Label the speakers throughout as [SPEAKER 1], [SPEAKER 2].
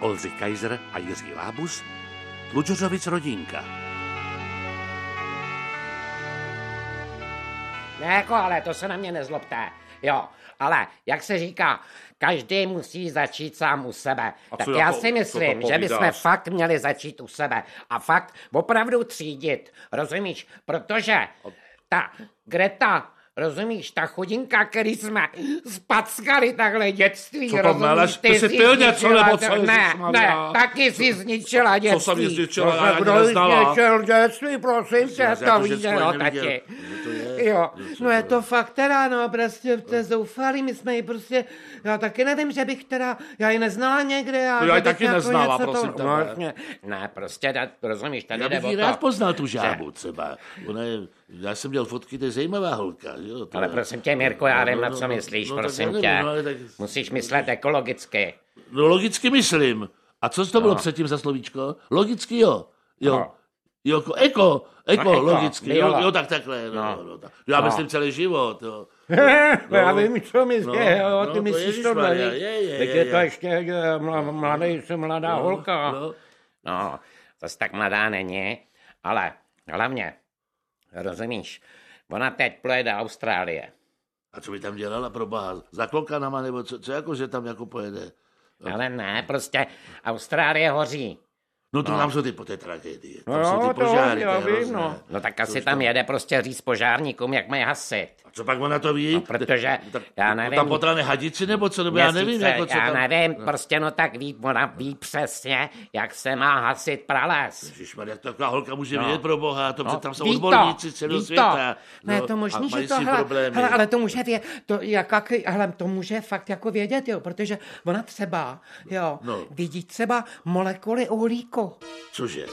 [SPEAKER 1] Olzy Kaiser a Jiří Lábus, Tlučořovic rodinka.
[SPEAKER 2] Ne, jako, ale to se na mě nezlobte. Jo, ale jak se říká, každý musí začít sám u sebe.
[SPEAKER 3] A
[SPEAKER 2] tak
[SPEAKER 3] co
[SPEAKER 2] já
[SPEAKER 3] jako-
[SPEAKER 2] si
[SPEAKER 3] co to
[SPEAKER 2] myslím, že bychom
[SPEAKER 3] povídáš?
[SPEAKER 2] fakt měli začít u sebe. A fakt opravdu třídit, rozumíš? Protože ta Greta, rozumíš, ta chudinka, který jsme spackali takhle dětství,
[SPEAKER 3] Co to
[SPEAKER 2] rozumíš?
[SPEAKER 3] meleš? Ty jsi pil něco,
[SPEAKER 2] zničila-
[SPEAKER 3] nebo co,
[SPEAKER 2] Ne, ne,
[SPEAKER 3] Ježišmarja?
[SPEAKER 2] taky si zničila dětství.
[SPEAKER 3] jsem jí zničila,
[SPEAKER 2] No,
[SPEAKER 3] já ani
[SPEAKER 2] kdo jí
[SPEAKER 3] neznala.
[SPEAKER 2] zničil dětství, prosím tě,
[SPEAKER 3] vás, já
[SPEAKER 2] to
[SPEAKER 3] to
[SPEAKER 2] víš,
[SPEAKER 3] dětstvo
[SPEAKER 2] jo,
[SPEAKER 3] neviděl.
[SPEAKER 2] tati.
[SPEAKER 3] No to je-
[SPEAKER 2] Jo,
[SPEAKER 3] co
[SPEAKER 4] No je to fakt teda, no prostě to je zoufalý, my jsme ji prostě, já taky nevím, že bych teda, já ji neznala někde. A
[SPEAKER 3] No, já
[SPEAKER 4] že
[SPEAKER 3] ji
[SPEAKER 4] bych
[SPEAKER 3] taky
[SPEAKER 4] jako
[SPEAKER 3] neznala,
[SPEAKER 4] něco
[SPEAKER 3] prosím tebe.
[SPEAKER 2] No, jasně. ne, prostě, da- rozumíš, tady
[SPEAKER 1] Já
[SPEAKER 2] jde
[SPEAKER 1] bych ji
[SPEAKER 2] o
[SPEAKER 1] rád
[SPEAKER 2] to.
[SPEAKER 1] poznal tu žábu třeba. Ona je, já jsem měl fotky, to je zajímavá holka. že Jo, to
[SPEAKER 2] Ale
[SPEAKER 1] je-
[SPEAKER 2] prosím tě, Mirko, já
[SPEAKER 1] No,
[SPEAKER 2] vím,
[SPEAKER 1] no,
[SPEAKER 2] na
[SPEAKER 1] no,
[SPEAKER 2] co
[SPEAKER 1] no,
[SPEAKER 2] myslíš,
[SPEAKER 1] no, tak já
[SPEAKER 2] prosím
[SPEAKER 1] nevím,
[SPEAKER 2] tě.
[SPEAKER 1] no, ale tak-
[SPEAKER 2] Musíš myslet ekologicky.
[SPEAKER 1] No logicky myslím. A co to bylo předtím za slovíčko? Logicky jo. Jo.
[SPEAKER 2] No.
[SPEAKER 1] Jo, jako eko, eko,
[SPEAKER 2] No, eko,
[SPEAKER 1] logicky. Jo,
[SPEAKER 2] biolo.
[SPEAKER 1] jo, tak takhle. No, no.
[SPEAKER 2] No.
[SPEAKER 1] tak. Já
[SPEAKER 2] No.
[SPEAKER 1] myslím celý život. Jo.
[SPEAKER 2] No, já vím, co mi
[SPEAKER 1] no,
[SPEAKER 2] je,
[SPEAKER 1] no,
[SPEAKER 2] jo, ty
[SPEAKER 1] to
[SPEAKER 2] myslíš to
[SPEAKER 1] ježišmarja,
[SPEAKER 2] mladý.
[SPEAKER 1] je, je,
[SPEAKER 2] Teď
[SPEAKER 1] je,
[SPEAKER 2] je to
[SPEAKER 1] je.
[SPEAKER 2] ještě eh, mla- mladý, jsem mladá
[SPEAKER 1] No,
[SPEAKER 2] holka.
[SPEAKER 1] no.
[SPEAKER 2] No, zase tak mladá není, ale hlavně, rozumíš, ona teď pojede do Austrálie.
[SPEAKER 1] A co by tam dělala pro boha? Za klokanama nebo co, co jako, že tam jako pojede?
[SPEAKER 2] Ale ne, prostě Austrálie hoří.
[SPEAKER 1] No to tam jsou ty po té tragédie. Tam
[SPEAKER 2] No,
[SPEAKER 1] jsou ty
[SPEAKER 2] to
[SPEAKER 1] požáry,
[SPEAKER 2] já
[SPEAKER 1] to je
[SPEAKER 2] vím,
[SPEAKER 1] hrozné.
[SPEAKER 2] no. No tak asi tam jede prostě říct požárníkům, jak mají hasit.
[SPEAKER 1] A co pak ona to ví? No,
[SPEAKER 2] protože já nevím.
[SPEAKER 1] Tam potrane hadici nebo co? Nebo já nevím,
[SPEAKER 2] Měsíce,
[SPEAKER 1] jako co
[SPEAKER 2] já
[SPEAKER 1] tam...
[SPEAKER 2] nevím, prostě no tak ví, ona ví přesně, jak se má hasit prales.
[SPEAKER 1] Ježišmar, jak taková holka může
[SPEAKER 2] No.
[SPEAKER 1] vědět pro boha, to
[SPEAKER 2] No,
[SPEAKER 1] no, tam jsou
[SPEAKER 2] ví to,
[SPEAKER 1] odborníci celého
[SPEAKER 2] ví to.
[SPEAKER 1] světa.
[SPEAKER 4] Ne,
[SPEAKER 1] No,
[SPEAKER 4] to možný,
[SPEAKER 1] a mají
[SPEAKER 4] že
[SPEAKER 1] s
[SPEAKER 4] to,
[SPEAKER 1] tím
[SPEAKER 4] hele,
[SPEAKER 1] problémy.
[SPEAKER 4] hele, ale to může vědět, to, jaká, hele, to může fakt jako vědět, jo, protože ona třeba, jo,
[SPEAKER 1] No.
[SPEAKER 4] vidí třeba molekuly uhlíku.
[SPEAKER 1] Cože?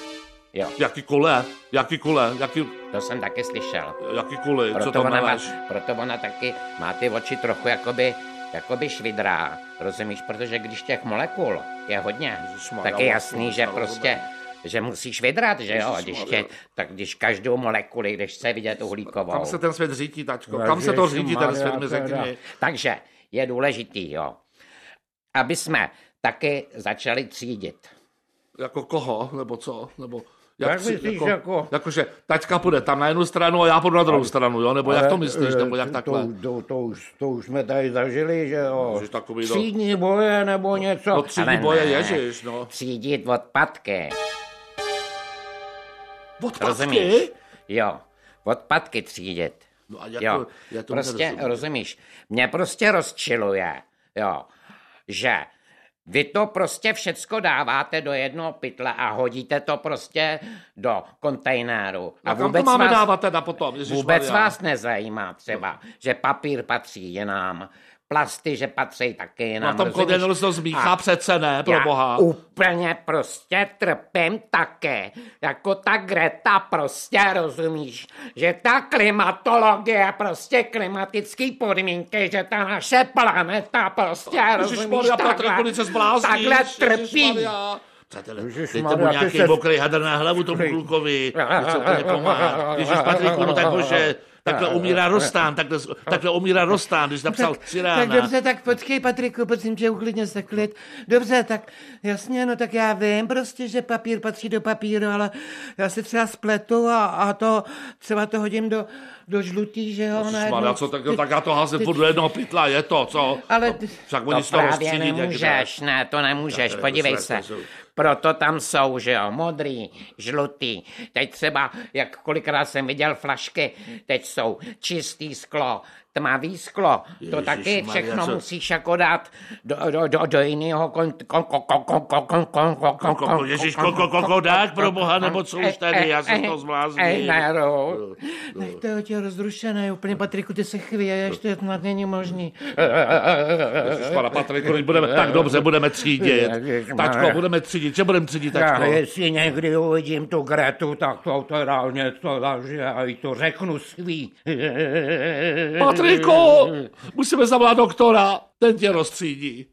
[SPEAKER 2] Jo,
[SPEAKER 3] Jaký kole? Jaký kole? Jaký,
[SPEAKER 2] to jsem taky slyšel.
[SPEAKER 3] jaký kole? Co
[SPEAKER 2] Proto
[SPEAKER 3] to
[SPEAKER 2] ona, má,
[SPEAKER 3] máš?
[SPEAKER 2] proto ona taky má ty oči trochu jakoby, jakoby švidrá, rozumíš? Protože když těch molekul je hodně,
[SPEAKER 3] Ježišmarja,
[SPEAKER 2] tak je jasný,
[SPEAKER 3] musím
[SPEAKER 2] že
[SPEAKER 3] to
[SPEAKER 2] prostě že musíš vydrat, že jo? Když tě, tak když každou molekuli, když se vidět uhlíkovou.
[SPEAKER 3] Kam se ten svět řítí, tačko? Kam se to řítí, ten
[SPEAKER 2] Ježišmarja,
[SPEAKER 3] svět, mi řekni?
[SPEAKER 2] teda. Takže je důležitý, jo, aby jsme taky začali třídit.
[SPEAKER 3] Jako koho? Nebo co? Nebo...
[SPEAKER 2] Jak
[SPEAKER 3] si-
[SPEAKER 2] myslíš, jako-
[SPEAKER 3] Jakože taťka půjde tam na jednu stranu a já půjdu na druhou stranu, jo? Nebo
[SPEAKER 1] Eh,
[SPEAKER 3] jak to myslíš, nebo jak takhle?
[SPEAKER 2] eh, To, to, to, už, to už jsme tady zažili, že jo.
[SPEAKER 3] Že takový to-
[SPEAKER 2] Třídní boje nebo něco.
[SPEAKER 3] no třídní
[SPEAKER 2] Ale
[SPEAKER 3] boje,
[SPEAKER 2] ne.
[SPEAKER 3] ježiš, no.
[SPEAKER 2] Třídit odpadky, rozumíš?
[SPEAKER 3] Odpadky?
[SPEAKER 2] Jo, odpadky třídit.
[SPEAKER 1] No a jak
[SPEAKER 2] jo,
[SPEAKER 1] to, já to
[SPEAKER 2] prostě rozumíš. Mě prostě rozčiluje, jo, že vy to prostě všecko dáváte do jednoho pytle a hodíte to prostě do kontejnéru.
[SPEAKER 3] No A kam to máme dávat teda potom?
[SPEAKER 2] Vůbec
[SPEAKER 3] Ježišmarja?
[SPEAKER 2] vás nezajímá třeba, že papír patří jinám, plasty, že patří taky
[SPEAKER 3] Na
[SPEAKER 2] jinám.
[SPEAKER 3] tom
[SPEAKER 2] rozumíš?
[SPEAKER 3] kodenelu se to zmíchá
[SPEAKER 2] A
[SPEAKER 3] přece ne, pro
[SPEAKER 2] já
[SPEAKER 3] boha.
[SPEAKER 2] úplně prostě trpím také, jako ta Greta prostě, rozumíš, že ta klimatologie, prostě klimatické podmínky, že ta naše planeta prostě, rozumíš,
[SPEAKER 3] Ježišmarja, Petra,
[SPEAKER 2] takhle,
[SPEAKER 3] kolik se zblázníš.
[SPEAKER 2] takhle trpí.
[SPEAKER 3] Ježišmarja.
[SPEAKER 1] Přátelé,
[SPEAKER 2] Ježišmarja,
[SPEAKER 1] dejte mu
[SPEAKER 2] ty
[SPEAKER 1] nějaký
[SPEAKER 2] se-
[SPEAKER 1] mokrý hadr na hlavu tomu klukovi. Něco úplně pomáhá. Ježíš Patriku, no tak bože, takhle umírá Rostán, takhle, takhle umírá Rostán, když napsal Cyrána.
[SPEAKER 4] Tak
[SPEAKER 2] no,
[SPEAKER 4] dobře, tak počkej, Patriku, prosím tě, uklidně se klid. Dobře, tak jasně, no tak já vím prostě, že papír patří do papíru, ale já si třeba spletu a, a to třeba to hodím do, do žlutý, že jo,
[SPEAKER 3] No,
[SPEAKER 2] no,
[SPEAKER 3] Ježišmarja, co tak, jo,
[SPEAKER 4] Ty-
[SPEAKER 3] tak já to házím furt do jednoho pytla, je to, co?
[SPEAKER 4] Ale-
[SPEAKER 3] No, Však
[SPEAKER 2] To
[SPEAKER 3] oni si to
[SPEAKER 2] právě
[SPEAKER 3] rozstřídí,
[SPEAKER 2] nemůžeš, ne, to nemůžeš,
[SPEAKER 1] Tak, ale
[SPEAKER 2] podívej
[SPEAKER 1] to prostě jako
[SPEAKER 2] se.
[SPEAKER 1] jsou- to jsou-
[SPEAKER 2] Proto tam jsou, že jo, modrý, žlutý. Teď třeba, jak kolikrát jsem viděl flašky, teď jsou čistý sklo, tmavý sklo. To
[SPEAKER 1] Ježišmarja,
[SPEAKER 2] taky všechno
[SPEAKER 1] co-
[SPEAKER 2] musíš jako dát do, do, do, do jiného kon... kon, kon, kon, kon, kon, kon, kon, kon, kon,
[SPEAKER 1] Ko-
[SPEAKER 2] kon-
[SPEAKER 1] ko- Ježíš,
[SPEAKER 2] kon-
[SPEAKER 1] koko, koko, dák pro boha, nebo co
[SPEAKER 2] Eh,
[SPEAKER 1] už tady, já
[SPEAKER 2] eh,
[SPEAKER 1] jsem
[SPEAKER 2] eh,
[SPEAKER 1] to
[SPEAKER 2] eh,
[SPEAKER 1] zbláznil.
[SPEAKER 2] ne, no.
[SPEAKER 4] Nech to je tě rozrušené, úplně, Patriku, ty se chvěješ, to je snad není možný.
[SPEAKER 3] Ježišmarja, Patriku, teď budeme, tak dobře, budeme třídit.
[SPEAKER 2] Ježišmarja.
[SPEAKER 3] Tačko, budeme třídit, že budeme třídit,
[SPEAKER 2] Já,
[SPEAKER 3] tačko?
[SPEAKER 2] jestli někdy uvidím tu Gretu, tak to teda něco takže a i to řeknu svý.
[SPEAKER 3] Patriku, musíme zavolat doktora, ten tě rozstřídí.